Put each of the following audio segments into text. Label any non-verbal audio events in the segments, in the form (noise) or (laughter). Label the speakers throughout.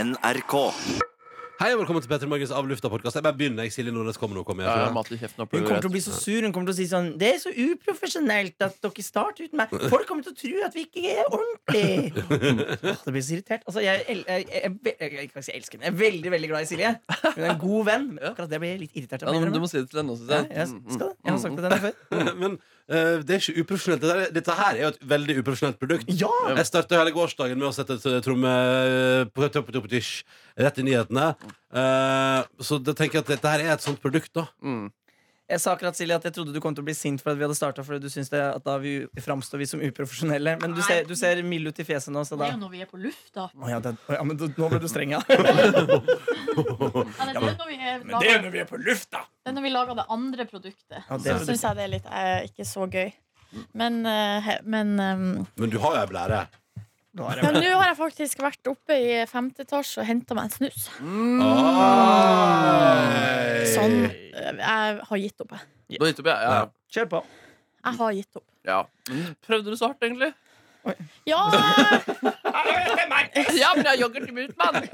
Speaker 1: NRK.
Speaker 2: Hei og velkommen til Petter Morgens Av lufta-podkast. Jeg bare begynner. jeg Silje Nordnes kommer nå. Kommer jeg,
Speaker 3: Ja,
Speaker 2: tror jeg.
Speaker 3: mat i kjeften og
Speaker 4: Hun kommer
Speaker 3: prøver
Speaker 4: til å bli så sur. Hun kommer til å si sånn Det er så uprofesjonelt at dere starter uten meg. Folk kommer til å tro at vi ikke er
Speaker 3: (laughs)
Speaker 4: ordentlige. Åh, det blir så irritert. Altså, jeg, el- jeg, jeg, jeg, jeg, jeg, kan ikke si jeg elsker henne. Jeg er veldig veldig glad i Silje. Hun er en god venn.
Speaker 3: (laughs)
Speaker 4: Men akkurat det blir jeg litt irritert
Speaker 3: Ja,
Speaker 4: av.
Speaker 3: men du
Speaker 4: innrømme.
Speaker 3: må si det til henne også.
Speaker 4: Ja,
Speaker 3: synes
Speaker 4: jeg,
Speaker 3: Mm, mm.
Speaker 4: skal det. jeg har sagt det til
Speaker 3: (laughs)
Speaker 4: henne før.
Speaker 2: (laughs) Men eh, det er ikke uprofesjonelt. Dette, er- dette her er jo et veldig uprofesjonelt produkt.
Speaker 4: Ja!
Speaker 2: Jeg startet hele gårsdagen med å sette et eh, tromme eh, på topp, topp, tysj, rett i nyhetene. Eh, så da tenker jeg at dette her er et sånt produkt, da.
Speaker 3: Mm.
Speaker 4: Jeg sa akkurat Silje at jeg trodde du kom til å bli sint for at vi hadde starta fordi du syns det at da vi framstår vi som uprofesjonelle. Men du ser, du ser mild ut i fjeset nå, så
Speaker 5: Det
Speaker 4: da
Speaker 5: er jo når vi er på lufta.
Speaker 4: Å ja, det, å ja, men du, nå ble du streng, ja.
Speaker 5: Ja, det, er når vi er
Speaker 4: Men det er
Speaker 5: lager,
Speaker 4: når vi er på lufta!
Speaker 5: det er når vi lager det andre produktet.
Speaker 4: Ja, det
Speaker 6: Så
Speaker 4: er
Speaker 6: syns jeg det er litt eh, ikke så gøy. Men, eh, he- men eh,
Speaker 2: Men du har jo ei blære.
Speaker 4: Nå er jeg
Speaker 6: Men nå har jeg faktisk vært oppe i femte etasje og henta meg en snus.
Speaker 2: Oi.
Speaker 6: Sånn. eh, Jeg har gitt opp, jeg.
Speaker 3: Du har gitt opp, ja? Ja.
Speaker 4: Kjør på.
Speaker 6: Jeg har gitt opp.
Speaker 3: ja. Men prøvde du så hardt, egentlig?
Speaker 6: Ja!
Speaker 3: Ja, men jeg har yoghurt i mut,
Speaker 4: (laughs)
Speaker 3: mann!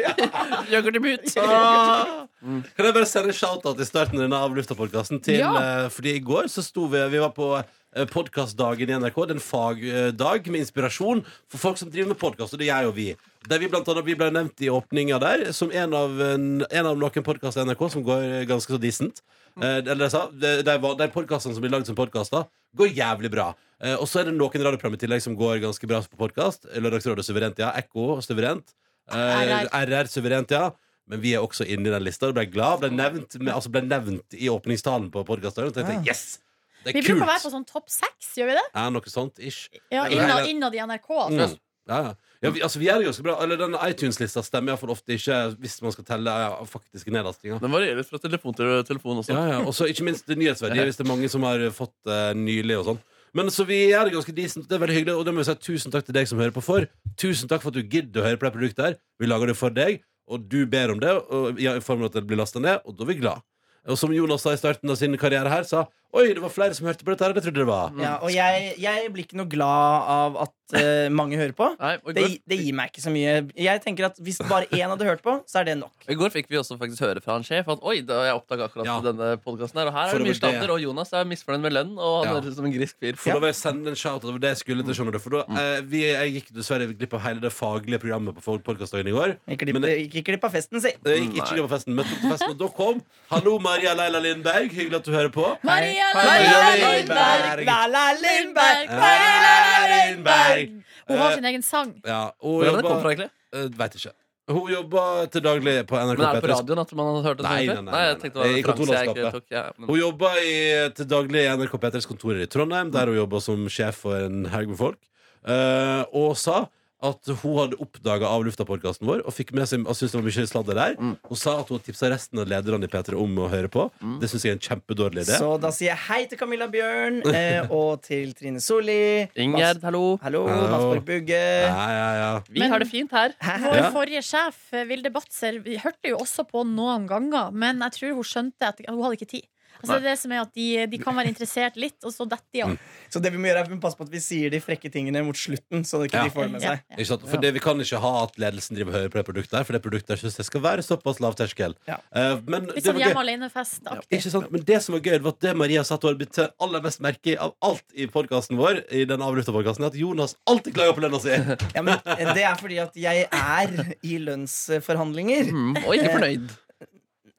Speaker 3: Yoghurt i mut.
Speaker 2: Kan jeg bare sende en shout-out i starten av denne av lufta-podkasten til
Speaker 3: Ja.
Speaker 2: eh, Fordi i går så sto vi Vi var på eh, podkastdagen i NRK. Det er en fagdag med inspirasjon for folk som driver med podkast, og det gjør jo vi. Der vi, blant annet, vi ble nevnt i åpninga der som en av, en, en av noen podkaster i NRK som går ganske så decent. Eh, eller jeg sa, de, de, var- de podkastene som blir lagd som podkaster, går jævlig bra. Eh, og så er det noen radioprogram i tillegg som går ganske bra på podkast. Lørdagsrådet Suverent, ja. Ekko Suverent. Eh,
Speaker 6: RR.
Speaker 2: RR Suverent, ja. Men vi er også inne i den lista. og Ble glad, ble nevnt, med, altså ble nevnt i åpningstalen på podkasten. Og tenkte jeg, yes! Det
Speaker 6: Vi
Speaker 2: er
Speaker 6: bruker å være
Speaker 2: kult!
Speaker 6: på sånn topp seks, gjør vi det?
Speaker 2: Ja, noe sånt ish.
Speaker 6: Ja,
Speaker 2: Nei,
Speaker 6: Innad,
Speaker 2: nei.
Speaker 6: innad i NRK. Altså.
Speaker 2: Mm. Ja, ja. Ja, vi, altså, vi er jo ganske bra. Eller Den iTunes-lista stemmer iallfall ofte ikke, hvis man skal telle ja, faktiske nedlastinger.
Speaker 3: Den varierer litt fra telefon til telefon også.
Speaker 2: Ja, ja. Og så ikke minst det nyhetsverdier, hvis det er mange som har fått det nylig. og sånn men så vi er det ganske decent, det er veldig hyggelig Og det må vi si tusen takk til deg som hører på for. Tusen takk for at du gidder å høre på det produktet her. Vi lager det for deg, og du ber om det og, ja, i form av at det blir lasta ned, og da er vi glad. Og som Jonas sa i starten av sin karriere her, sa Oi, det var flere som hørte på dette her enn jeg trodde det var.
Speaker 4: Ja, og jeg, jeg blir ikke noe glad av at eh, mange hører på.
Speaker 3: Nei, og i
Speaker 4: Det,
Speaker 3: går,
Speaker 4: det gir meg ikke så mye. Jeg tenker at Hvis bare én hadde hørt på, så er det nok.
Speaker 3: I går fikk vi også faktisk høre fra en sjef at oi, da jeg oppdaga akkurat
Speaker 2: Ja.
Speaker 3: denne podkasten her, og her
Speaker 2: For
Speaker 3: er
Speaker 2: det
Speaker 3: det
Speaker 2: var
Speaker 3: mye
Speaker 2: det-
Speaker 3: stander, og Jonas er misfornøyd med lønn, og han
Speaker 2: Ja.
Speaker 3: høres ut som en grisk fyr.
Speaker 2: For da vil jeg sende en shout-out over det jeg skulle til, skjønner du. For da, eh, vi, jeg gikk dessverre glipp av hele det faglige programmet på podkastdagen i går.
Speaker 4: Ikke klipp,
Speaker 2: Men eh, det-
Speaker 4: ikke klipp av festen, si.
Speaker 2: Jeg gikk ikke glipp av festen, møtte opp til festen, og da kom Hallo, Maria Leila Lindberg. Hyggelig at du hører på.
Speaker 6: Maria
Speaker 2: Maria
Speaker 6: Maria
Speaker 2: Lindberg.
Speaker 6: Lindberg!
Speaker 4: La-la Lindberg!
Speaker 2: Maria Lindberg. Eh,
Speaker 6: Hun har sin egen sang.
Speaker 2: Ja, og
Speaker 3: Hvor er det
Speaker 2: jobba-
Speaker 3: kom fra, egentlig?
Speaker 2: Eh, Vet ikke. Hun jobber til daglig på NRK
Speaker 3: Men er det på
Speaker 2: P3.
Speaker 3: radioen at man har hørt det?
Speaker 2: Nei,
Speaker 3: før?
Speaker 2: nei, nei,
Speaker 3: nei, jeg
Speaker 2: nei,
Speaker 3: tenkte det var
Speaker 2: nei.
Speaker 3: en
Speaker 2: I
Speaker 3: referanse jeg ikke
Speaker 2: kontorlandskapet.
Speaker 3: tok. Ja, men...
Speaker 2: Hun jobber i, til daglig i NRK P3s kontorer i Trondheim, der hun jobber som sjef for en haug med folk, eh, og sa at hun hadde oppdaga av lufta-podkasten vår og fikk med seg, og syntes det var mye sladder der.
Speaker 3: Mm.
Speaker 2: Hun sa at hun tipsa resten av lederne i P3 om å høre på.
Speaker 3: Mm.
Speaker 2: Det syns jeg er en kjempedårlig idé.
Speaker 4: Så da sier jeg hei til Camilla Bjørn
Speaker 2: (laughs)
Speaker 4: eh, og til Trine Solli.
Speaker 3: Ingjerd, hallo.
Speaker 4: Mads- Hallo,
Speaker 2: Hallo.
Speaker 4: Madsborg Bugge.
Speaker 2: Ja, ja, ja.
Speaker 3: Vi har det fint her.
Speaker 6: Vår
Speaker 2: Ja.
Speaker 6: forrige sjef, eh, Vilde Batzer, vi hørte jo også på noen ganger, men jeg tror hun skjønte at hun hadde ikke tid. Altså
Speaker 3: Nei.
Speaker 6: det
Speaker 3: Mm.
Speaker 6: er det som er at de, de kan være interessert litt, og så detter de av.
Speaker 4: Så det vi må gjøre, er at vi må passe på at vi sier de frekke tingene mot slutten. Så ikke
Speaker 2: Ja.
Speaker 4: de får det med
Speaker 6: Ja,
Speaker 4: seg
Speaker 6: ja.
Speaker 2: Ikke sant? For det, Vi kan ikke ha at ledelsen driver høyere på det produktet, der for det produktet der synes jeg skal være såpass lav terskel.
Speaker 4: Ja.
Speaker 2: Eh, men
Speaker 6: Litt
Speaker 2: det
Speaker 6: sånn
Speaker 2: var gøy.
Speaker 6: hjemme alene-fest-aktig.
Speaker 2: Ikke sant? Men det som var gøy, det var at det Maria satt og ble til aller mest merke i av alt i podkasten vår, i den avlufta podkasten, at Jonas alltid klager på lønna si.
Speaker 4: ja, men eh, Det er fordi at jeg er i lønnsforhandlinger.
Speaker 3: Mm, og
Speaker 4: (laughs)
Speaker 3: ikke fornøyd.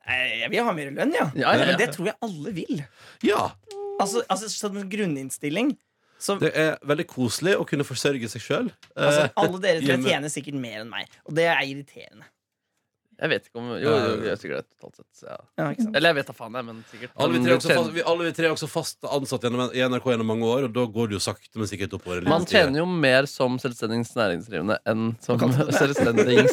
Speaker 4: Nei, Jeg vil ha mer lønn, ja.
Speaker 3: Ja, ja, ja.
Speaker 4: Men det tror jeg alle vil.
Speaker 2: Ja.
Speaker 4: Altså, altså sånn grunninnstilling så,
Speaker 2: Det er veldig koselig å kunne forsørge seg sjøl.
Speaker 4: altså, Alle dere tre
Speaker 2: hjemme.
Speaker 4: tjener sikkert mer enn meg, og det er irriterende.
Speaker 3: Jeg vet ikke om Jo, jo, jeg er sikkert det, totalt sett. Ja.
Speaker 4: Ja, ikke sant?
Speaker 3: Eller jeg vet da faen, jeg, men sikkert.
Speaker 2: Altså, alle vi, tre er
Speaker 3: Men
Speaker 2: også fast, vi, alle vi tre er også fast ansatt gjennom, i NRK gjennom mange år, og da går det jo sakte, men sikkert oppover.
Speaker 3: Man tjener jo mer som selvstendig næringsdrivende enn som selvstendig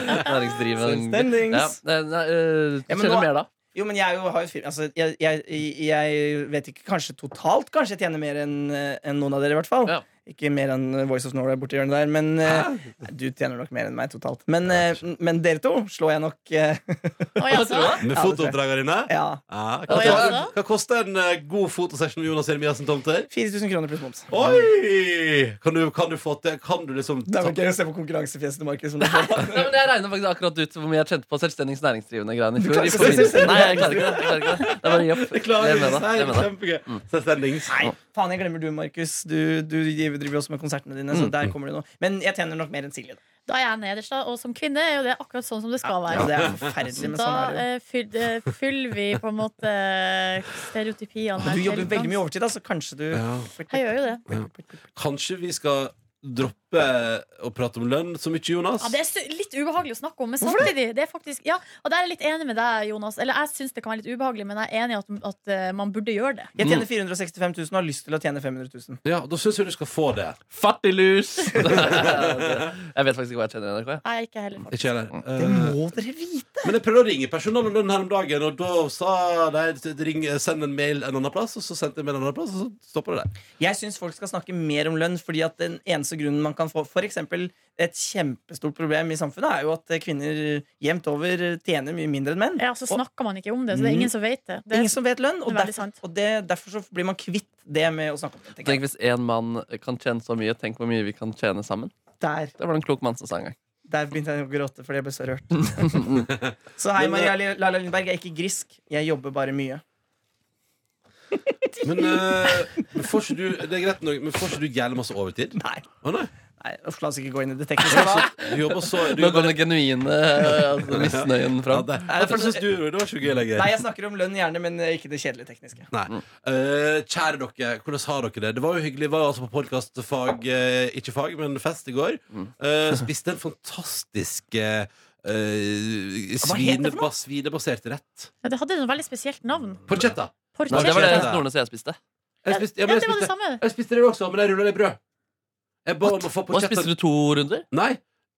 Speaker 3: næringsdrivende.
Speaker 4: Selvstendings.
Speaker 3: Ja, nei, nei, øh,
Speaker 4: Ja, men
Speaker 3: tjener
Speaker 4: nå-
Speaker 3: mer da.
Speaker 4: Jo, men jeg er jo, har jo et firma altså, jeg, jeg, jeg vet ikke, kanskje totalt Kanskje jeg tjener mer eh, enn enn noen av dere, i hvert fall.
Speaker 3: Ja.
Speaker 4: Ikke mer enn eh, Voice of Norway borti hjørnet der, men eh, Du tjener nok mer enn meg totalt. Men, eh, men dere to slår jeg nok eh, (laughs)
Speaker 6: Oi,
Speaker 2: Med
Speaker 4: Ja, det
Speaker 6: altså.
Speaker 4: tror jeg.
Speaker 2: fotooppdragene dine?
Speaker 4: Ja.
Speaker 2: Ja, hva,
Speaker 6: Oi,
Speaker 2: koster,
Speaker 6: altså.
Speaker 2: hva koster en eh, god fotosession med Jonas Jeremiassen Tomter?
Speaker 4: 4000 kroner pluss moms.
Speaker 2: Oi! Kan du, kan du få til Kan du liksom
Speaker 4: Det er vel gøy å se på konkurransefjeset til Markus. som det er.
Speaker 3: Nei, men jeg regna faktisk akkurat ut hvor mye jeg tjente på selvstendig næringsdrivende greiene i
Speaker 4: Du
Speaker 3: fjor.
Speaker 4: klarer
Speaker 3: i
Speaker 4: ikke
Speaker 3: forbindelse-
Speaker 4: selvstendig
Speaker 3: Nei, jeg klarer ikke det. Jeg klarer ikke det. Det er bare jobb.
Speaker 2: Jeg klarer
Speaker 3: Jeg
Speaker 2: det.
Speaker 3: mener det.
Speaker 2: Nei,
Speaker 3: Jeg (laughs) mener det.
Speaker 2: Kjempegøy. Selvstendings.
Speaker 4: Nei, faen, jeg glemmer du, Markus. Du, du driver jo også med konsertene dine. Så der kommer du nå Men jeg tjener nok mer enn Silje. Da.
Speaker 6: Da er jeg nederst, da. Og som kvinne er jo det akkurat sånn som det skal
Speaker 4: Ja,
Speaker 6: være.
Speaker 4: det er forferdelig, men
Speaker 6: Da
Speaker 4: sånn er det jo.
Speaker 6: eh, fyll- eh, fyller vi på en måte stereotypiene her.
Speaker 4: Du
Speaker 6: til
Speaker 4: jobber veldig mye
Speaker 6: dans.
Speaker 4: overtid, da, så kanskje du
Speaker 2: Ja.
Speaker 6: Jeg gjør jo det.
Speaker 2: Kanskje vi skal droppe å prate om lønn så mye, Jonas?
Speaker 6: Ja, det er så- litt ubehagelig å snakke om, men samtidig det er faktisk, ja, Og der er jeg litt enig med deg, Jonas. Eller jeg syns det kan være litt ubehagelig, men jeg er enig i at, at eh, man burde gjøre det.
Speaker 4: Jeg tjener 465 000 og har lyst til å tjene 500 000.
Speaker 2: Ja, Da syns jeg du skal få det.
Speaker 3: Fattig lus! Jeg vet faktisk ikke hva jeg tjener i NRK. jeg.
Speaker 6: Jeg er ikke heller faktisk.
Speaker 2: Ikke heller.
Speaker 4: Det
Speaker 2: Eh,
Speaker 4: må dere vite!
Speaker 2: men jeg prøvde å ringe personalet om lønn her om dagen, og da sa de ring, send en mail en annen plass, og så sendte jeg mail en annen plass, og så stoppa det der.
Speaker 4: Jeg syns folk skal snakke mer om lønn, fordi at den eneste grunnen man kan få For eksempel et kjempestort problem i samfunnet er jo at kvinner jevnt over tjener mye mindre enn menn.
Speaker 6: Ja, så
Speaker 4: Og-
Speaker 6: snakker man ikke om det, så det er ingen som vet det. det
Speaker 4: Ingen som vet lønn, og,
Speaker 6: det er veldig
Speaker 4: derfor,
Speaker 6: sant.
Speaker 4: og det, derfor så blir man kvitt det med å snakke om det. tenker jeg.
Speaker 3: Tenk hvis én mann kan tjene så mye. Tenk hvor mye vi kan tjene sammen.
Speaker 4: Der,
Speaker 3: Det var det en klok mann som sa en gang.
Speaker 4: der begynte jeg å gråte fordi jeg ble så rørt.
Speaker 2: (laughs)
Speaker 4: så hei,
Speaker 2: eh,
Speaker 4: Maria Lala Lindberg. Jeg er ikke grisk. Jeg jobber bare mye.
Speaker 2: Men, eh, men får ikke du Det er greit nok, men får ikke du jævlig masse overtid?
Speaker 4: Nei,
Speaker 2: Å nei?
Speaker 4: nei uff, la oss ikke gå inn i det tekniske. da.
Speaker 2: Du jobber så du
Speaker 3: Nå
Speaker 2: jobber,
Speaker 3: kom den genuine eh, altså, misnøyen
Speaker 2: ja,
Speaker 3: fram.
Speaker 2: det, ja, for jeg synes du, det var ikke gøy lenger.
Speaker 4: Nei, jeg snakker om lønn gjerne, men eh, ikke det kjedelige tekniske.
Speaker 2: Nei. Eh, kjære dere, hvordan har dere det? Det var jo hyggelig. Vi var jo altså på podkastfag, eh, ikke fag, men fest i går. Eh, spiste en fantastisk eh, eh,
Speaker 4: Hva het det for noe?
Speaker 2: svinebas, svinebasert rett.
Speaker 6: Ja, det hadde noe veldig spesielt navn.
Speaker 2: Porchetta.
Speaker 3: Nei, det var det
Speaker 6: Porchetta.
Speaker 2: Kjente.
Speaker 3: Nordnes og jeg spiste.
Speaker 2: Jeg spiste, ja,
Speaker 6: Ja,
Speaker 2: men
Speaker 6: det
Speaker 2: jeg
Speaker 6: var det
Speaker 2: spiste,
Speaker 6: samme.
Speaker 2: jeg spiste det også, men jeg rulla det i brød. Jeg ba om å få
Speaker 3: Og
Speaker 2: porchetta.
Speaker 3: spiste du to runder?
Speaker 2: Nei,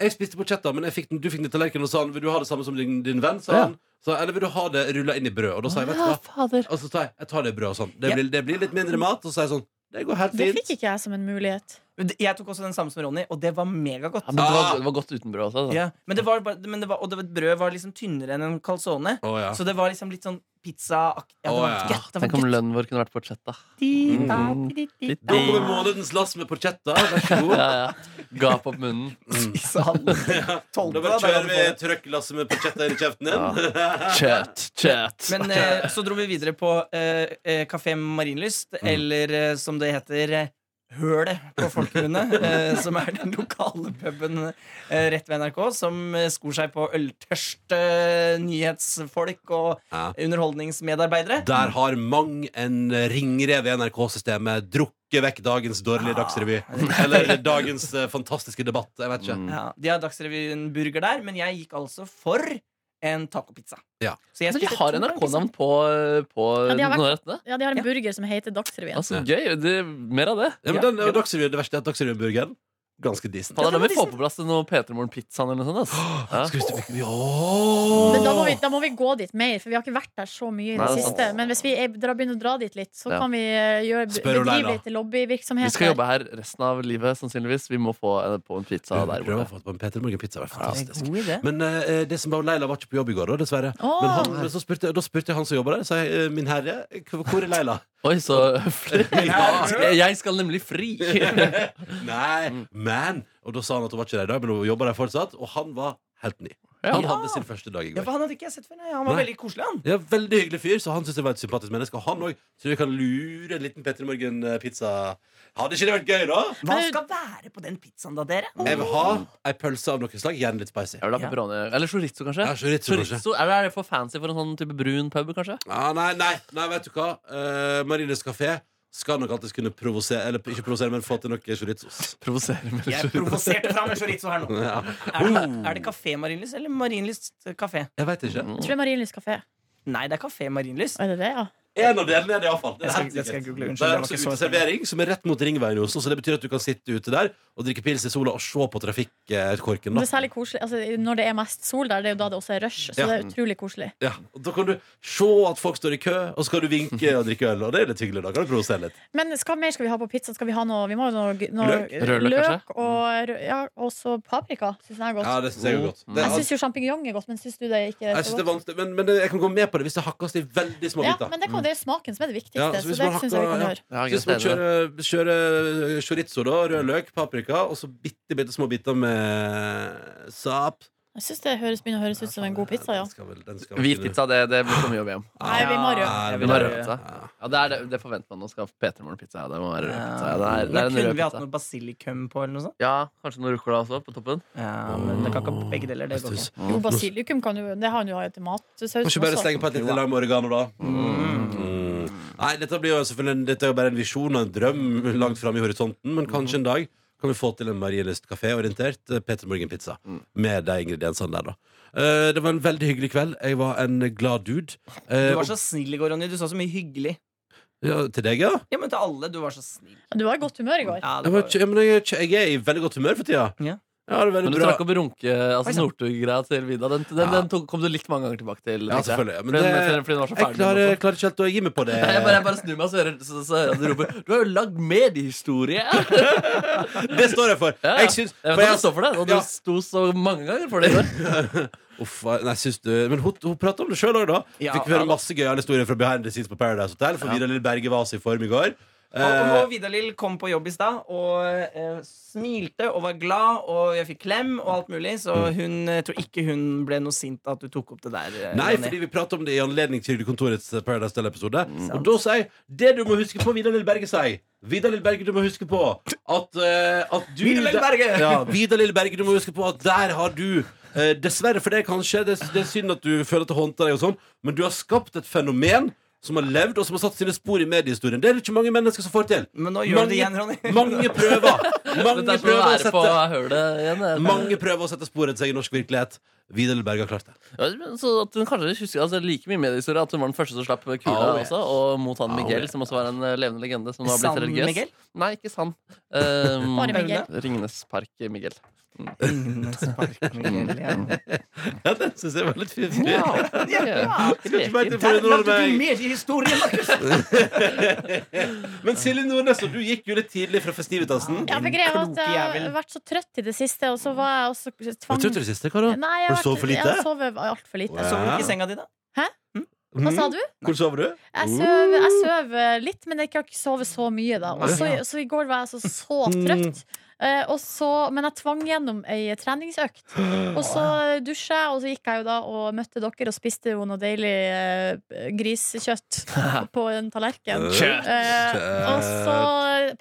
Speaker 2: jeg spiste porchetta, men jeg fikk den, du fikk den i tallerkenen og sa han, vil du ha det samme som din, din venn? Sa
Speaker 3: Ja.
Speaker 2: han. Så, eller vil du ha det rulla inn i brød? Og da sa jeg, vet du hva?
Speaker 3: fader.
Speaker 2: Og så tar jeg, jeg tar det i brød og sånn. Det,
Speaker 4: Ja.
Speaker 2: blir, det blir litt mindre mat, og så er jeg sånn Det går helt
Speaker 6: Det
Speaker 2: fint.
Speaker 6: fikk ikke jeg som en mulighet.
Speaker 4: Men det- Jeg tok også den samme som Ronny, og det var megagodt.
Speaker 3: Ja, men det, var, det var godt uten brød også. altså. Da.
Speaker 4: Ja, men det var, bare- men det var, og det var, brød var liksom tynnere enn en calzone.
Speaker 2: Å, ja.
Speaker 4: Så det var liksom litt sånn pizzaaktig. Ja, det
Speaker 2: Å,
Speaker 4: var
Speaker 2: ja.
Speaker 4: gøtt, det var
Speaker 3: Tenk om
Speaker 4: gøtt.
Speaker 3: lønnen vår kunne vært porchetta.
Speaker 2: Mm. Nå kommer månedens lass med porchetta. Vær så god.
Speaker 3: Ja,
Speaker 4: (laughs)
Speaker 3: ja. Gap opp munnen.
Speaker 4: Spise alle. Tolv,
Speaker 2: Da
Speaker 4: da,
Speaker 2: bare
Speaker 4: der
Speaker 2: kjører
Speaker 4: hadde
Speaker 2: vi
Speaker 4: vi det.
Speaker 2: trøkkelasset med porchetta inn i kjeften din.
Speaker 3: Chat, chat.
Speaker 4: Men eh, så dro vi videre på eh, eh, Kafé Marienlyst,
Speaker 2: Mm.
Speaker 4: eller eh, som det heter eh, Hølet på folkemunne,
Speaker 2: (laughs)
Speaker 4: eh, som er den lokale puben eh, rett ved NRK, som eh, skor seg på øltørste eh, nyhetsfolk og
Speaker 2: Ja.
Speaker 4: underholdningsmedarbeidere.
Speaker 2: (laughs) Der har mang en ringrev i NRK-systemet drukket vekk dagens dårlige Dagsrevy. Eller dagens eh, fantastiske debatt. Jeg vet ikke.
Speaker 4: Ja, de har Dagsrevyen-burger der, men jeg gikk altså for en tacopizza.
Speaker 2: Ja.
Speaker 4: Så jeg
Speaker 3: Altså, de
Speaker 4: spiste
Speaker 3: har
Speaker 4: to
Speaker 3: NRK-navn på, eh, på
Speaker 6: Ja, de har vært-
Speaker 3: noen av rettene.
Speaker 6: Ja, de har en
Speaker 4: Ja.
Speaker 6: burger som heter Dagsrevyen.
Speaker 3: Altså, gøy. Det, mer av det.
Speaker 2: Ja, men
Speaker 4: Ja.
Speaker 2: den, og Dagsrevy, det verste er at Dagsrevyen-burgeren ganske decent.
Speaker 3: Fader, da
Speaker 4: Ja,
Speaker 3: må
Speaker 4: det var
Speaker 3: vi få på plass noe P3 Morgen-pizzaen eller noe sånt. altså. ass.
Speaker 2: Skal vi stikke ja.
Speaker 6: Men da må, vi, da må vi gå dit mer, for vi har ikke vært der så mye i det
Speaker 3: Nei, det er
Speaker 6: siste. Men hvis vi er- drar, begynner å dra dit litt, så
Speaker 3: Ja.
Speaker 6: kan vi eh, gjøre,
Speaker 2: Spør Ola, da.
Speaker 6: bedrive litt
Speaker 3: Ja.
Speaker 6: lobbyvirksomhet.
Speaker 3: Vi skal
Speaker 6: der.
Speaker 3: jobbe her resten av livet, sannsynligvis. Vi må få eh, på en pizza der
Speaker 2: Prøv å
Speaker 3: borte.
Speaker 2: få på en Peter Morgen-pizza. Det var
Speaker 4: Det er
Speaker 2: fantastisk.
Speaker 4: en god idé.
Speaker 2: Men eh, det som var Leila var ikke på jobb i går, da, dessverre.
Speaker 6: Åh.
Speaker 2: Men, han, men så spurte, da spurte jeg han som jobber der, sa jeg, eh, min herre, hvor hvor er Leila?
Speaker 3: Oi, så
Speaker 4: (laughs)
Speaker 3: høflig. Jeg skal nemlig fri.
Speaker 2: Nei, men Og da sa han at hun var ikke der i dag, men hun jobber der fortsatt. Og han var helt ny.
Speaker 3: Ja.
Speaker 2: Han hadde sin første dag i
Speaker 4: Ja,
Speaker 2: går.
Speaker 4: for han hadde ikke jeg sett før. Nei, han var
Speaker 2: Nei.
Speaker 4: veldig koselig, han.
Speaker 2: Ja, Veldig hyggelig fyr, så han syns jeg var et sympatisk menneske. Og han òg. Så vi kan lure en liten Petter Morgen-pizza. Hadde ikke det vært gøy, da?
Speaker 4: Hva skal være på den pizzaen, da, dere?
Speaker 2: Jeg vil ha ei pølse av noe slag, gjerne litt spicy.
Speaker 3: Jeg vil ha pepperoni. Eller chorizo, kanskje.
Speaker 2: Ja, chorizo, kanskje.
Speaker 3: Eller er det for fancy for en sånn type brun pub, kanskje?
Speaker 2: Ja, Ah, nei, nei, nei, vet du hva? Uh, Marines kafé skal nok alltid kunne provosere, eller ikke provosere, men få til noe chorizos.
Speaker 3: Provosere med
Speaker 4: Jeg
Speaker 3: chorizo.
Speaker 4: provoserte fram en chorizo her nå.
Speaker 2: (laughs) Ja.
Speaker 4: Er det, er det Kafé Marienlyst eller Marienlyst kafé?
Speaker 2: Jeg veit ikke.
Speaker 6: Jeg tror det er Marienlyst kafé.
Speaker 4: Nei, det er Kafé Marienlyst.
Speaker 6: Er det det, ja?
Speaker 2: En av delene er det iallfall. Det
Speaker 4: Jeg
Speaker 2: er
Speaker 4: skal-
Speaker 2: helt
Speaker 4: jeg skal
Speaker 2: sikkert.
Speaker 4: google, unnskyld,
Speaker 2: Det
Speaker 4: jeg
Speaker 2: er
Speaker 4: var
Speaker 2: også
Speaker 4: ikke så-
Speaker 2: uteservering som er rett mot ringveien i Oslo, så det betyr at du kan sitte ute der og drikke pils i sola og se på trafikkorken.
Speaker 6: Men
Speaker 2: Da.
Speaker 6: Det er særlig koselig altså, Når det er mest sol der, det er jo da det også er rush. Så
Speaker 2: Ja.
Speaker 6: det er utrolig koselig.
Speaker 2: Ja, og da kan du se at folk står i kø, og så kan du vinke og drikke øl. Og det er litt hyggelig. Da kan du provosere litt.
Speaker 6: Men skal, mer skal vi ha på pizzaen? Skal vi ha noe, vi må ha noe, noe
Speaker 2: Løk?
Speaker 3: (laughs) Rødløk, kanskje?
Speaker 6: og rø- ja, også paprika. Syns jeg er godt.
Speaker 2: Ja, det synes jeg er godt. Det,
Speaker 6: Mm. jeg syns jo sjampinjong er godt, men syns du det ikke
Speaker 2: jeg
Speaker 6: er
Speaker 2: synes
Speaker 6: så
Speaker 2: det er
Speaker 6: godt?
Speaker 2: vanskelig, men, men jeg kan gå med på det hvis det hakkes i veldig små
Speaker 6: Ja,
Speaker 2: biter.
Speaker 6: men det, kan, det er smaken som er det viktigste.
Speaker 2: Ja, så
Speaker 6: så,
Speaker 2: hvis
Speaker 6: det
Speaker 2: man
Speaker 6: syns jeg vi
Speaker 2: hakker-
Speaker 6: kan
Speaker 2: ja.
Speaker 6: gjøre.
Speaker 3: Ja,
Speaker 2: Så hvis man
Speaker 3: gratulerer.
Speaker 2: kjører, kjører chorizo, da, rød løk, paprika, og så bitte, bitte små biter med sap.
Speaker 6: Jeg syns det høres, begynner å høres ut som en god pizza, ja.
Speaker 2: Den skal vel, den skal vel
Speaker 3: Hvit pizza, det, det blir for mye å be om.
Speaker 6: Nei, vi må ha rød.
Speaker 2: Ja,
Speaker 4: Jeg
Speaker 2: vi
Speaker 4: vil
Speaker 2: må
Speaker 4: ha
Speaker 2: ha
Speaker 4: rød.
Speaker 2: rød.
Speaker 3: Ja, det, er det, det forventer man. Nå skal P3 Morgen pizza. Ja, det må være rød pizza. Ja, det er, det er
Speaker 4: Men
Speaker 3: en
Speaker 4: kunne
Speaker 3: rød
Speaker 4: vi hatt
Speaker 3: pizza.
Speaker 4: noe basilikum på, eller noe sånt?
Speaker 3: Ja, kanskje noe ruccola også på toppen?
Speaker 4: Ja, men det kan ikke ha begge deler. Det går ikke.
Speaker 6: Jo, basilikum kan jo Det har han jo i tomatsausen
Speaker 2: Kan ikke bare
Speaker 6: også.
Speaker 2: slenge på et lite lime oregano, da? Mm. Nei, dette blir jo selvfølgelig en- Dette er jo bare en visjon og en drøm langt fram i horisonten, men kanskje en dag kan vi få til en Marielyst kafé-orientert eh, Peter Morgen-pizza
Speaker 3: Mm.
Speaker 2: med de ingrediensene der, da. Eh, Det var en veldig hyggelig kveld. Jeg var en glad dude. Eh,
Speaker 4: Du var så snill i går, Ronny. Du sa så mye hyggelig.
Speaker 2: og- ja, til deg, ja?
Speaker 4: Ja, men til alle. Du var så snill.
Speaker 6: Du var i godt humør i går.
Speaker 4: Ja,
Speaker 2: Jeg,
Speaker 4: det
Speaker 2: var,
Speaker 4: var...
Speaker 2: ikke- ja, men jeg, er ikke- jeg er i veldig godt humør for tida.
Speaker 4: Ja.
Speaker 2: Ja, det er veldig
Speaker 3: Men du
Speaker 2: bra.
Speaker 3: trakk opp runke, altså
Speaker 4: Oi, sant.
Speaker 3: Northug-greia til Vida. Den, den,
Speaker 2: Ja.
Speaker 3: den tok, kom du litt mange ganger tilbake til.
Speaker 2: Ja,
Speaker 3: tenkte jeg.
Speaker 2: selvfølgelig, men
Speaker 3: fordi, den,
Speaker 2: det-
Speaker 3: fordi- fordi den var så
Speaker 2: Jeg
Speaker 3: ferdig.
Speaker 2: klarer,
Speaker 3: med
Speaker 2: jeg klarer ikke helt å gi meg på det.
Speaker 3: den også. Nei, (laughs) jeg, bare, jeg bare snur meg og så hører, så, så hører jeg at du roper Du har jo lagd mediehistorie!
Speaker 2: Det står jeg for.
Speaker 3: Ja, ja.
Speaker 2: Jeg syns, for
Speaker 3: Jeg vet at
Speaker 2: jeg,
Speaker 3: du står for det, og du
Speaker 2: Ja.
Speaker 3: sto så mange ganger for det i går.
Speaker 2: Uff, nei, syns du, men hun, hun prater om det sjøl òg, da.
Speaker 4: Ja,
Speaker 2: Fikk
Speaker 4: ja
Speaker 2: høre
Speaker 4: da.
Speaker 2: masse gøyale historier fra behind the scenes på Paradise Hotel. For
Speaker 3: Ja.
Speaker 2: Vidar Lill Berge var også i form i går.
Speaker 4: Og,
Speaker 2: Eh,
Speaker 4: og Vidar-Lill kom på jobb i stad og eh, smilte og var glad, og jeg fikk klem og alt mulig, så hun eh, tror ikke hun ble noe sint at du tok opp det der. eh,
Speaker 2: Nei,
Speaker 4: Ronny.
Speaker 2: fordi vi prater om det i anledning til Kontorets Paradise Hotel-episode.
Speaker 4: Mm,
Speaker 2: Og da sier jeg det du må huske på, Vidar Lill Berge sier. Vidar Lill Berge, du må huske på at, eh, at du
Speaker 4: Vidar Lill Berge!
Speaker 2: Ja, Vidar Lill Berge, du må huske på at der har du eh, Dessverre for deg, kanskje. Det, det er synd at du føler at det håndter deg, og sånn men du har skapt et fenomen som har levd og som har satt sine spor i mediehistorien. Det er det ikke mange mennesker som får til.
Speaker 4: Men nå gjør du det igjen, Ronny. sånn
Speaker 2: Mange
Speaker 4: (laughs)
Speaker 2: prøver (laughs) Mange
Speaker 3: Dette er som å
Speaker 2: prøver å
Speaker 3: være på
Speaker 2: sette
Speaker 3: hølet igjen. jeg.
Speaker 2: Mange prøver å sette sporet til seg i norsk virkelighet. Vidar Lill Berge har klart det.
Speaker 3: Ja, men så at hun kanskje husker altså, like mye mediehistorie at hun var den første som slapp kula
Speaker 2: Au,
Speaker 3: også, og mot han
Speaker 2: Au,
Speaker 3: Miguel,
Speaker 2: ja.
Speaker 3: som også var en eh, levende legende. Som nå har
Speaker 4: San
Speaker 3: blitt religiøs.
Speaker 4: Miguel?
Speaker 3: Nei, ikke San.
Speaker 6: (laughs)
Speaker 3: Um,
Speaker 6: Bare Miguel.
Speaker 3: Ringenes Mm. Park-Miguel. Mm.
Speaker 4: Skal
Speaker 2: Ja, det synes jeg var litt fint. Skal ikke meg til for å
Speaker 4: Der
Speaker 2: underholde
Speaker 4: lagde du
Speaker 2: meg.
Speaker 4: mer i historien, Markus!
Speaker 2: Men Silje Nordnes, og du gikk jo litt tidlig fra festivitasen.
Speaker 6: Ja, for greia var at
Speaker 4: Kloke
Speaker 6: jeg har
Speaker 4: jævel.
Speaker 6: vært så trøtt i det siste, og så var jeg også
Speaker 2: Hva
Speaker 6: tvang...
Speaker 2: trodde du det siste? Hva da?
Speaker 6: Nei, jeg
Speaker 2: Har
Speaker 6: har
Speaker 2: du sovet for
Speaker 6: vært-
Speaker 2: lite?
Speaker 6: Jeg har sovet altfor lite.
Speaker 2: Wow.
Speaker 4: Sov du ikke i senga di, da?
Speaker 6: Hva sa du?
Speaker 2: Mhm. Hvor sover du?
Speaker 6: Jeg sover, jeg sover litt, men jeg har ikke sovet så mye, da. Og så, så i går var jeg så, så trøtt. Eh, og så, men jeg tvang gjennom ei treningsøkt. Og så dusja jeg, og så gikk jeg jo da og møtte dere og spiste jo noe deilig eh, grisekjøtt
Speaker 4: (laughs)
Speaker 6: på en tallerken.
Speaker 2: Kjøtt.
Speaker 6: Eh, og så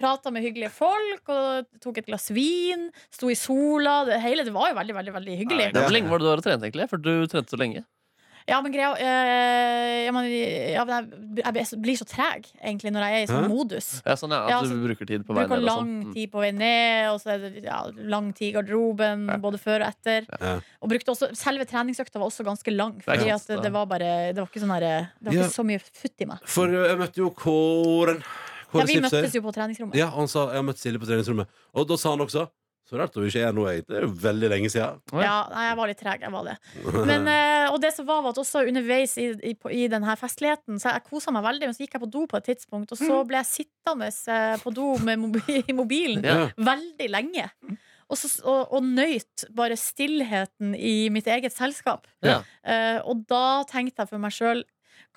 Speaker 6: prata med hyggelige folk, og tok et glass vin, sto i sola. Det hele det var jo veldig, veldig, veldig hyggelig.
Speaker 3: Ja, Hvor lenge var det du var og trente, egentlig? For du trente så lenge.
Speaker 6: Ja, men greia eh, jeg, mener, ja, men jeg, jeg blir så- blir så treg, egentlig, når jeg er i sånn
Speaker 2: Hæ?
Speaker 6: modus.
Speaker 3: Ja, sånn, ja,
Speaker 6: Ja,
Speaker 3: at
Speaker 6: altså,
Speaker 3: du bruker tid på vei
Speaker 6: Bruker
Speaker 3: ned. og sånn.
Speaker 6: lang tid på vei ned, og så er det ja, lang tid i garderoben, både før og etter.
Speaker 2: Ja.
Speaker 6: Og brukte også, selve treningsøkta var også ganske lang,
Speaker 3: er
Speaker 6: fordi
Speaker 3: sant,
Speaker 6: at det,
Speaker 3: det.
Speaker 6: det var bare Det var ikke, sånn der, det var
Speaker 2: Ja.
Speaker 6: ikke så mye futt i meg.
Speaker 2: For eh, jeg møtte jo Kåren.
Speaker 6: Ja,
Speaker 2: Kåre
Speaker 6: vi
Speaker 2: Snipser.
Speaker 6: møttes jo på treningsrommet.
Speaker 2: Ja, han sa jeg har møtt Silje på treningsrommet. Og da sa han også så rart hun ikke er nå, egentlig. Det er jo veldig lenge siden.
Speaker 6: Ja, nei, jeg var litt treg, jeg var det. Men, eh, og det som var, var at også underveis i, i, på- i denne festligheten, så jeg kosa meg veldig, men så gikk jeg på do på et tidspunkt, og så ble jeg sittende eh, på do med mobi (laughs) i mobilen
Speaker 2: Ja.
Speaker 6: veldig lenge.
Speaker 2: Mm.
Speaker 6: Og, så, og, og nøyt bare stillheten i mitt eget selskap.
Speaker 3: Ja.
Speaker 6: Eh, og da tenkte jeg for meg sjøl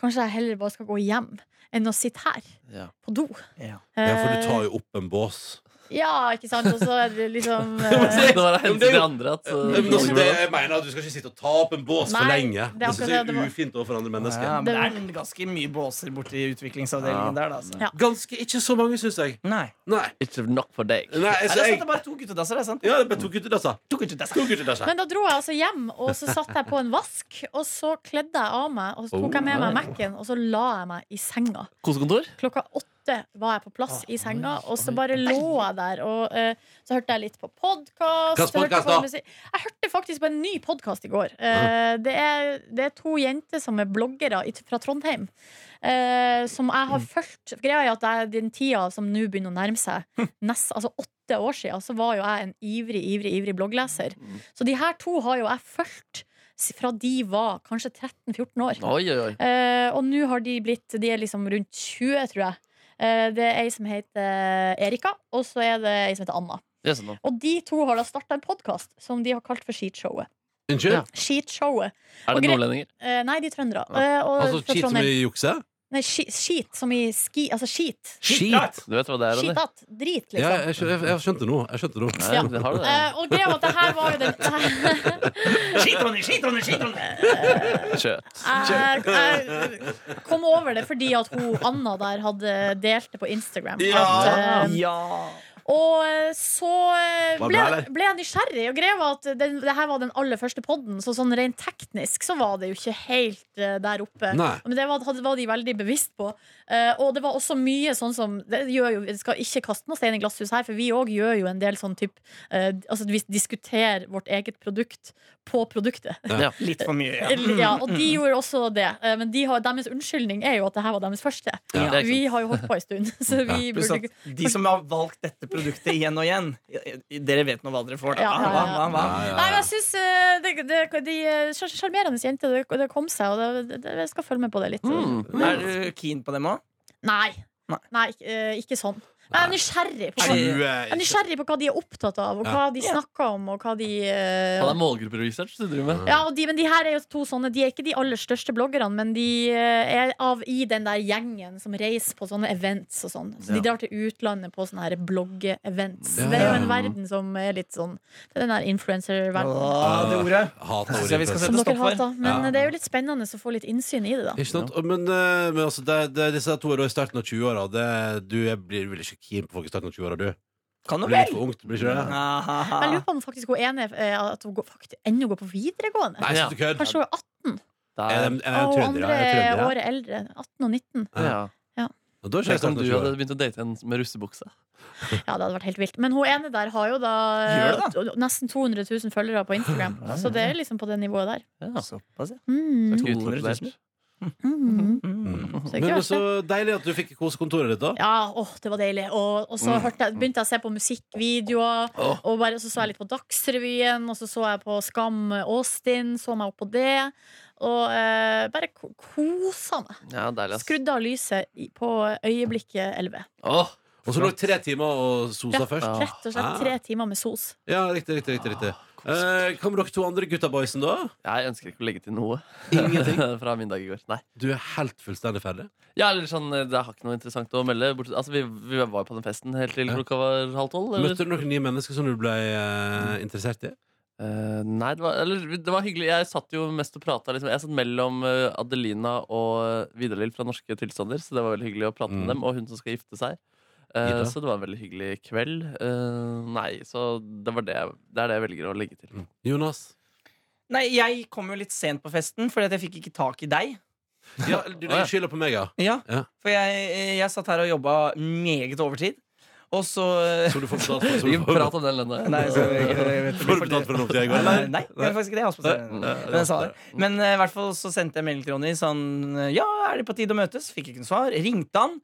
Speaker 6: kanskje jeg heller bare skal gå hjem enn å sitte her,
Speaker 3: Ja.
Speaker 6: på do.
Speaker 4: Ja.
Speaker 2: Ja, for du
Speaker 6: Eh.
Speaker 2: tar jo opp en bås.
Speaker 6: Ja, ikke sant? Og så er det
Speaker 3: (laughs)
Speaker 6: liksom
Speaker 3: Så
Speaker 6: eh,
Speaker 3: (laughs) Det var av
Speaker 2: Men
Speaker 3: hensyn
Speaker 2: det er
Speaker 3: til
Speaker 2: jo-
Speaker 3: andre at uh,
Speaker 2: Men altså, det,
Speaker 3: det-
Speaker 2: jeg mener at Du skal ikke sitte og ta opp en bås for
Speaker 6: Mm. Nei,
Speaker 2: lenge.
Speaker 6: det er
Speaker 2: Det
Speaker 6: akkurat
Speaker 2: synes jeg
Speaker 6: det
Speaker 2: er
Speaker 6: det var.
Speaker 2: ufint overfor andre mennesker.
Speaker 4: Ja, men det er ganske mye båser borti utviklingsavdelingen der, da. Altså.
Speaker 6: Ja.
Speaker 2: Ganske ikke så mange, syns jeg.
Speaker 4: Nei.
Speaker 2: Nei.
Speaker 3: It's not for deg.
Speaker 2: Nei,
Speaker 4: Er det
Speaker 2: så
Speaker 4: sant?
Speaker 2: jeg
Speaker 4: Det er bare to guttedasser, er det sant?
Speaker 2: Ja, det bare tok ut i dassa.
Speaker 4: To guttedasser.
Speaker 2: Tok ut i dassa.
Speaker 6: Men da dro jeg altså hjem, og så satt jeg på en vask. Og så kledde jeg av meg, og så tok jeg med meg Mac-en, og så la jeg meg i senga.
Speaker 3: Kosekontor?
Speaker 6: Klokka åtte åtte var jeg på plass i senga, og så bare lå jeg der. Og eh, så hørte jeg litt på
Speaker 2: Hvilken
Speaker 6: podkast.
Speaker 2: podcast da?
Speaker 6: Jeg hørte faktisk på en ny podkast i går. Eh, det, er, det er to jenter som er bloggere i- fra Trondheim. eh, som jeg
Speaker 2: Mm.
Speaker 6: har fulgt. Greia er at jeg, den tida som nå begynner å
Speaker 2: (laughs)
Speaker 6: nærme seg, nest, altså åtte år siden, så var jo jeg en ivrig, ivrig, ivrig bloggleser.
Speaker 2: Mm.
Speaker 6: Så de her to har jo jeg fulgt s- fra de var kanskje 13-14 år.
Speaker 3: Oi, oi, oi.
Speaker 6: Eh, og nå har de blitt De er liksom rundt 20, tror jeg. Eh, det er ei som heter eh, Erika, og så er det ei som heter Anna.
Speaker 3: Yes, no.
Speaker 6: Og de to har da starta en podkast som de har kalt for Skitshowet.
Speaker 2: Unnskyld?
Speaker 3: Ja.
Speaker 6: Skitshowet.
Speaker 3: Er
Speaker 6: Og
Speaker 3: det
Speaker 6: gre-
Speaker 3: nordlendinger?
Speaker 6: Eh, nei, de er trøndere.
Speaker 3: Ja.
Speaker 6: Eh, og
Speaker 2: Altså
Speaker 6: fra
Speaker 2: skit som
Speaker 6: Trondheim.
Speaker 2: i jukse?
Speaker 6: Nei, skit, skit som i ski Altså skit.
Speaker 2: Skit!
Speaker 3: Du vet hva det er, eller?
Speaker 6: Skitat.
Speaker 2: Ja,
Speaker 6: Drit, liksom.
Speaker 2: jeg, skjø- jeg, jeg skjønte det nå. Jeg skjønte det nå.
Speaker 3: Nei, det har du det.
Speaker 6: Eh, og greia var at det her var jo den
Speaker 4: Skitronning, skitronning, skitronning!
Speaker 3: Skjøt.
Speaker 6: jeg, (laughs) jeg kom over det fordi at hun Anna der hadde delt det på Instagram.
Speaker 2: Ja.
Speaker 6: At, eh,
Speaker 4: Ja.
Speaker 6: Og eh, så
Speaker 2: Var
Speaker 6: eh,
Speaker 2: det
Speaker 6: ble,
Speaker 2: bra, eller?
Speaker 6: ble jeg nysgjerrig, og greia var at den, det her var den aller første podden, så sånn rent teknisk så var det jo ikke helt eh, der oppe.
Speaker 2: Nei.
Speaker 6: Men det var, hadde- var de veldig bevisst på. Eh, og det var også mye sånn som Det gjør jo, vi skal ikke kaste noe stein i glasshus her, for vi òg gjør jo en del sånn type eh, Altså vi diskuterer vårt eget produkt på produktet.
Speaker 4: Litt for mye, ja.
Speaker 6: Ja, og de gjorde også det. Eh, men de har, deres unnskyldning er jo at det her var deres første.
Speaker 3: Ja, det er ikke sant.
Speaker 6: Vi har jo holdt på en stund, (laughs) så vi
Speaker 4: Pluss
Speaker 6: burde
Speaker 4: at de som har valgt dette produktet igjen og igjen, dere vet nå hva dere får. Da.
Speaker 6: Ja, ja,
Speaker 4: Hva, hva,
Speaker 6: ja.
Speaker 4: hva?
Speaker 6: Nei, men jeg synes eh, det, det, De eh, sjar- sjarmerende jenter, det, det kom seg, og det, det, det, jeg skal følge med på det litt.
Speaker 3: Mm.
Speaker 4: Er du keen på dem òg?
Speaker 6: Nei.
Speaker 4: Nei.
Speaker 6: Nei, ikke- eh, ikke sånn. Jeg er nysgjerrig på hva,
Speaker 4: Er de-
Speaker 6: jeg er nysgjerrig på hva de er opptatt av, og hva de snakker om, og hva de eh,
Speaker 3: Han er målgrupperesearch du driver med.
Speaker 6: ja, og de, men de her er jo to sånne De er ikke de aller største bloggerne, men de eh, er av i den der gjengen som reiser på sånne events og sånn. Så
Speaker 3: Ja.
Speaker 6: de drar til utlandet på sånne her blogge-events.
Speaker 2: Ja.
Speaker 6: Det er jo en verden som er litt sånn Det er den der influencer-verdenen.
Speaker 4: Det ordet.
Speaker 2: Hater
Speaker 4: Synes jeg vi skal
Speaker 2: ordet.
Speaker 4: sette
Speaker 6: Som dere
Speaker 4: stopp for.
Speaker 6: hater. Men
Speaker 2: Ja.
Speaker 6: det er jo litt spennende å få litt innsyn i det, da.
Speaker 2: Ikke sant? Og- Men, eh, men altså, det, det, disse to er da i starten av 20-åra. Det- Du jeg blir vel ikke keen på folk i starten av 20-åra, du?
Speaker 4: Kan
Speaker 2: Det
Speaker 4: du
Speaker 2: blir litt
Speaker 4: vel?
Speaker 2: for ungt, blir ikke det?
Speaker 4: Ahaha.
Speaker 6: Men jeg lurer på om faktisk hun ene eh, at hun går, faktisk, ennå går på videregående.
Speaker 2: Nei, slutt å kødde!
Speaker 6: Kanskje hun er 18,
Speaker 2: Er
Speaker 3: Der.
Speaker 2: de- er de
Speaker 6: og hun
Speaker 2: trøndere?
Speaker 6: andre
Speaker 2: Er de
Speaker 6: er
Speaker 2: trøndere?
Speaker 6: året eldre. 18 og 19.
Speaker 3: Ja.
Speaker 2: Og Da er ikke jeg sånn
Speaker 3: Tenk om
Speaker 2: starten av
Speaker 3: du hadde
Speaker 2: 20-åra.
Speaker 3: begynt å date en med russebukse.
Speaker 6: Ja, det hadde vært helt vilt. Men hun ene der har jo da,
Speaker 4: Gjør det,
Speaker 6: eh, nesten 200 000 følgere på Instagram. Så det er liksom på det nivået der.
Speaker 3: Ja.
Speaker 4: Såpass, ja.
Speaker 6: Mm.
Speaker 3: Skal vi utfordre
Speaker 4: 200 000?
Speaker 3: deg?
Speaker 6: Mm.
Speaker 4: Mm.
Speaker 2: Mm.
Speaker 6: Så det
Speaker 2: Men
Speaker 6: er ikke
Speaker 2: men
Speaker 6: verst, det.
Speaker 2: så deilig at du fikk kose kontoret ditt, da.
Speaker 6: Ja, åh, det var deilig. Og, og så
Speaker 3: Mm.
Speaker 6: hørte jeg, begynte jeg å se på musikkvideoer.
Speaker 3: Åh.
Speaker 6: Og bare, så så jeg litt på Dagsrevyen, og så så jeg på Skam Austin. Så meg opp på det. Og eh, bare ko- kosa meg.
Speaker 3: Ja, deilig, ass.
Speaker 6: Skrudde av lyset i- på øyeblikket 11.
Speaker 3: Åh,
Speaker 2: Og så lå det tre timer og sosa
Speaker 6: Ja.
Speaker 2: først.
Speaker 6: Rett
Speaker 3: Ah.
Speaker 6: og slett tre timer med sos.
Speaker 2: Ja, riktig, riktig, riktig, riktig.
Speaker 6: Ah,
Speaker 2: Eh, Hva med dere to andre gutta boysen, da?
Speaker 3: Jeg ønsker ikke å legge til noe (laughs)
Speaker 2: Ingenting.
Speaker 3: fra min dag i går. Nei.
Speaker 2: (laughs) Du er helt fullstendig ferdig.
Speaker 3: Ja, eller sånn, Det har ikke noe interessant å melde. Bort, altså, vi, vi var på den festen helt til
Speaker 2: Ja.
Speaker 3: klokka var halv tolv. Eller?
Speaker 2: Møtte du noen nye mennesker som du ble eh, interessert i?
Speaker 3: Eh, nei, det var, eller, det var hyggelig. Jeg satt jo mest og prata. Liksom. Jeg satt mellom eh, Adelina og Vidar-Lill fra Norske Tilstander, så det var veldig hyggelig å prate
Speaker 2: Mm.
Speaker 3: med dem. Og hun som skal gifte seg. Eh,
Speaker 2: Ida.
Speaker 3: så det var en veldig hyggelig kveld. Eh, nei, så det, var det, jeg- det er det jeg velger å legge til.
Speaker 2: Mm. Jonas?
Speaker 4: Nei, jeg kom jo litt sent på festen, fordi at jeg fikk ikke tak i deg.
Speaker 2: Ja, du legger skylda på meg, ja.
Speaker 4: Ja,
Speaker 2: Ja.
Speaker 4: For jeg, jeg satt her og jobba meget overtid. Og så (laughs)
Speaker 2: Som du får betalt for. som
Speaker 3: (laughs) Vi
Speaker 2: du får-
Speaker 3: prat om den, Lenne.
Speaker 4: Nei,
Speaker 2: (laughs)
Speaker 4: så, jeg, jeg vet
Speaker 2: Får du betalt for noe til i går,
Speaker 4: Nei,
Speaker 2: eller?
Speaker 4: nei, det er faktisk ikke det. Jeg har spasert.
Speaker 2: Nei, nei,
Speaker 4: Men, jeg sa det. Men eh, i hvert fall så sendte jeg melding til Ronny sånn Ja, er det på tide å møtes? Fikk ikke noe svar. Ringte han.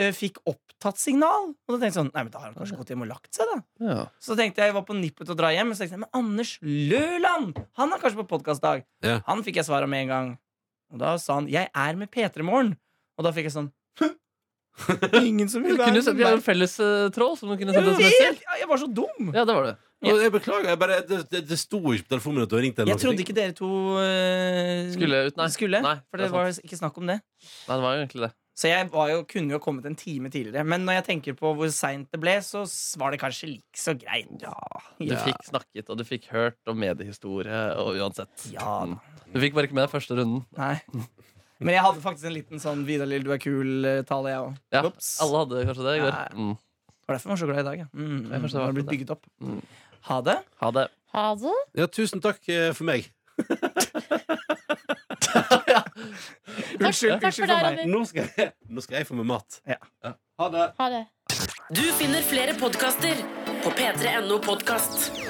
Speaker 4: eh, Fikk opptatt signal. Og da tenkte jeg sånn Nei, men da har han kanskje gått hjem og lagt seg, da.
Speaker 3: (laughs) Ja.
Speaker 4: Så tenkte jeg jeg var på nippet til å dra hjem. Men så tenkte jeg, men Anders Løland! Han er kanskje på podkastdag.
Speaker 2: Ja.
Speaker 4: Han fikk jeg svar av med en gang. Og da sa han 'Jeg er med P3 Morgen'. Og da fikk jeg sånn (laughs) Ingen som
Speaker 3: Vi
Speaker 4: vil være
Speaker 3: kunne
Speaker 4: med
Speaker 3: sendt- vi har en
Speaker 4: meg.
Speaker 3: felles eh, tråd som du kunne sendt oss mest til.
Speaker 4: Helt- ja, Jeg var så dum!
Speaker 3: Ja, det var det.
Speaker 2: Og jeg beklager, jeg bare, det, det, det sto ikke på telefonen min at du har ringt.
Speaker 4: Jeg trodde ikke dere to eh,
Speaker 3: Skulle ut, nei.
Speaker 4: skulle
Speaker 3: Nei,
Speaker 4: for
Speaker 3: det er
Speaker 4: det var ikke snakk om det.
Speaker 3: Nei, det var jo egentlig det.
Speaker 4: Så jeg var jo, kunne jo kommet en time tidligere. Men når jeg tenker på hvor seint det ble, så s- var det kanskje like så greit. Ja,
Speaker 3: Du fikk snakket, og du fikk hørt, og mediehistorie, og uansett.
Speaker 4: Ja da.
Speaker 3: Mm. Du fikk bare ikke med deg første runden.
Speaker 4: Nei. (laughs) Men jeg hadde faktisk en liten sånn Vidar Lill, du er kul-tale, jeg òg.
Speaker 3: Ja,
Speaker 4: Ops.
Speaker 3: Alle hadde kanskje det i går.
Speaker 4: Ja.
Speaker 3: Mm.
Speaker 4: Det var derfor jeg var så glad i dag. Ja. Mm, mm,
Speaker 3: Jeg forstår
Speaker 4: det har blitt
Speaker 3: det.
Speaker 4: bygget opp.
Speaker 3: Mm.
Speaker 4: Ha det.
Speaker 3: Ha det.
Speaker 6: Ha det.
Speaker 2: Ja, tusen takk eh, for meg.
Speaker 6: Takk,
Speaker 4: Unnskyld, unnskyld
Speaker 6: takk for
Speaker 4: for
Speaker 6: det,
Speaker 4: meg.
Speaker 6: Ronny.
Speaker 2: Nå skal jeg, nå skal jeg få meg mat.
Speaker 4: Ja.
Speaker 2: Ha
Speaker 7: Ha det.
Speaker 8: Ha det.
Speaker 3: Du finner flere podkaster på p3.no podkast.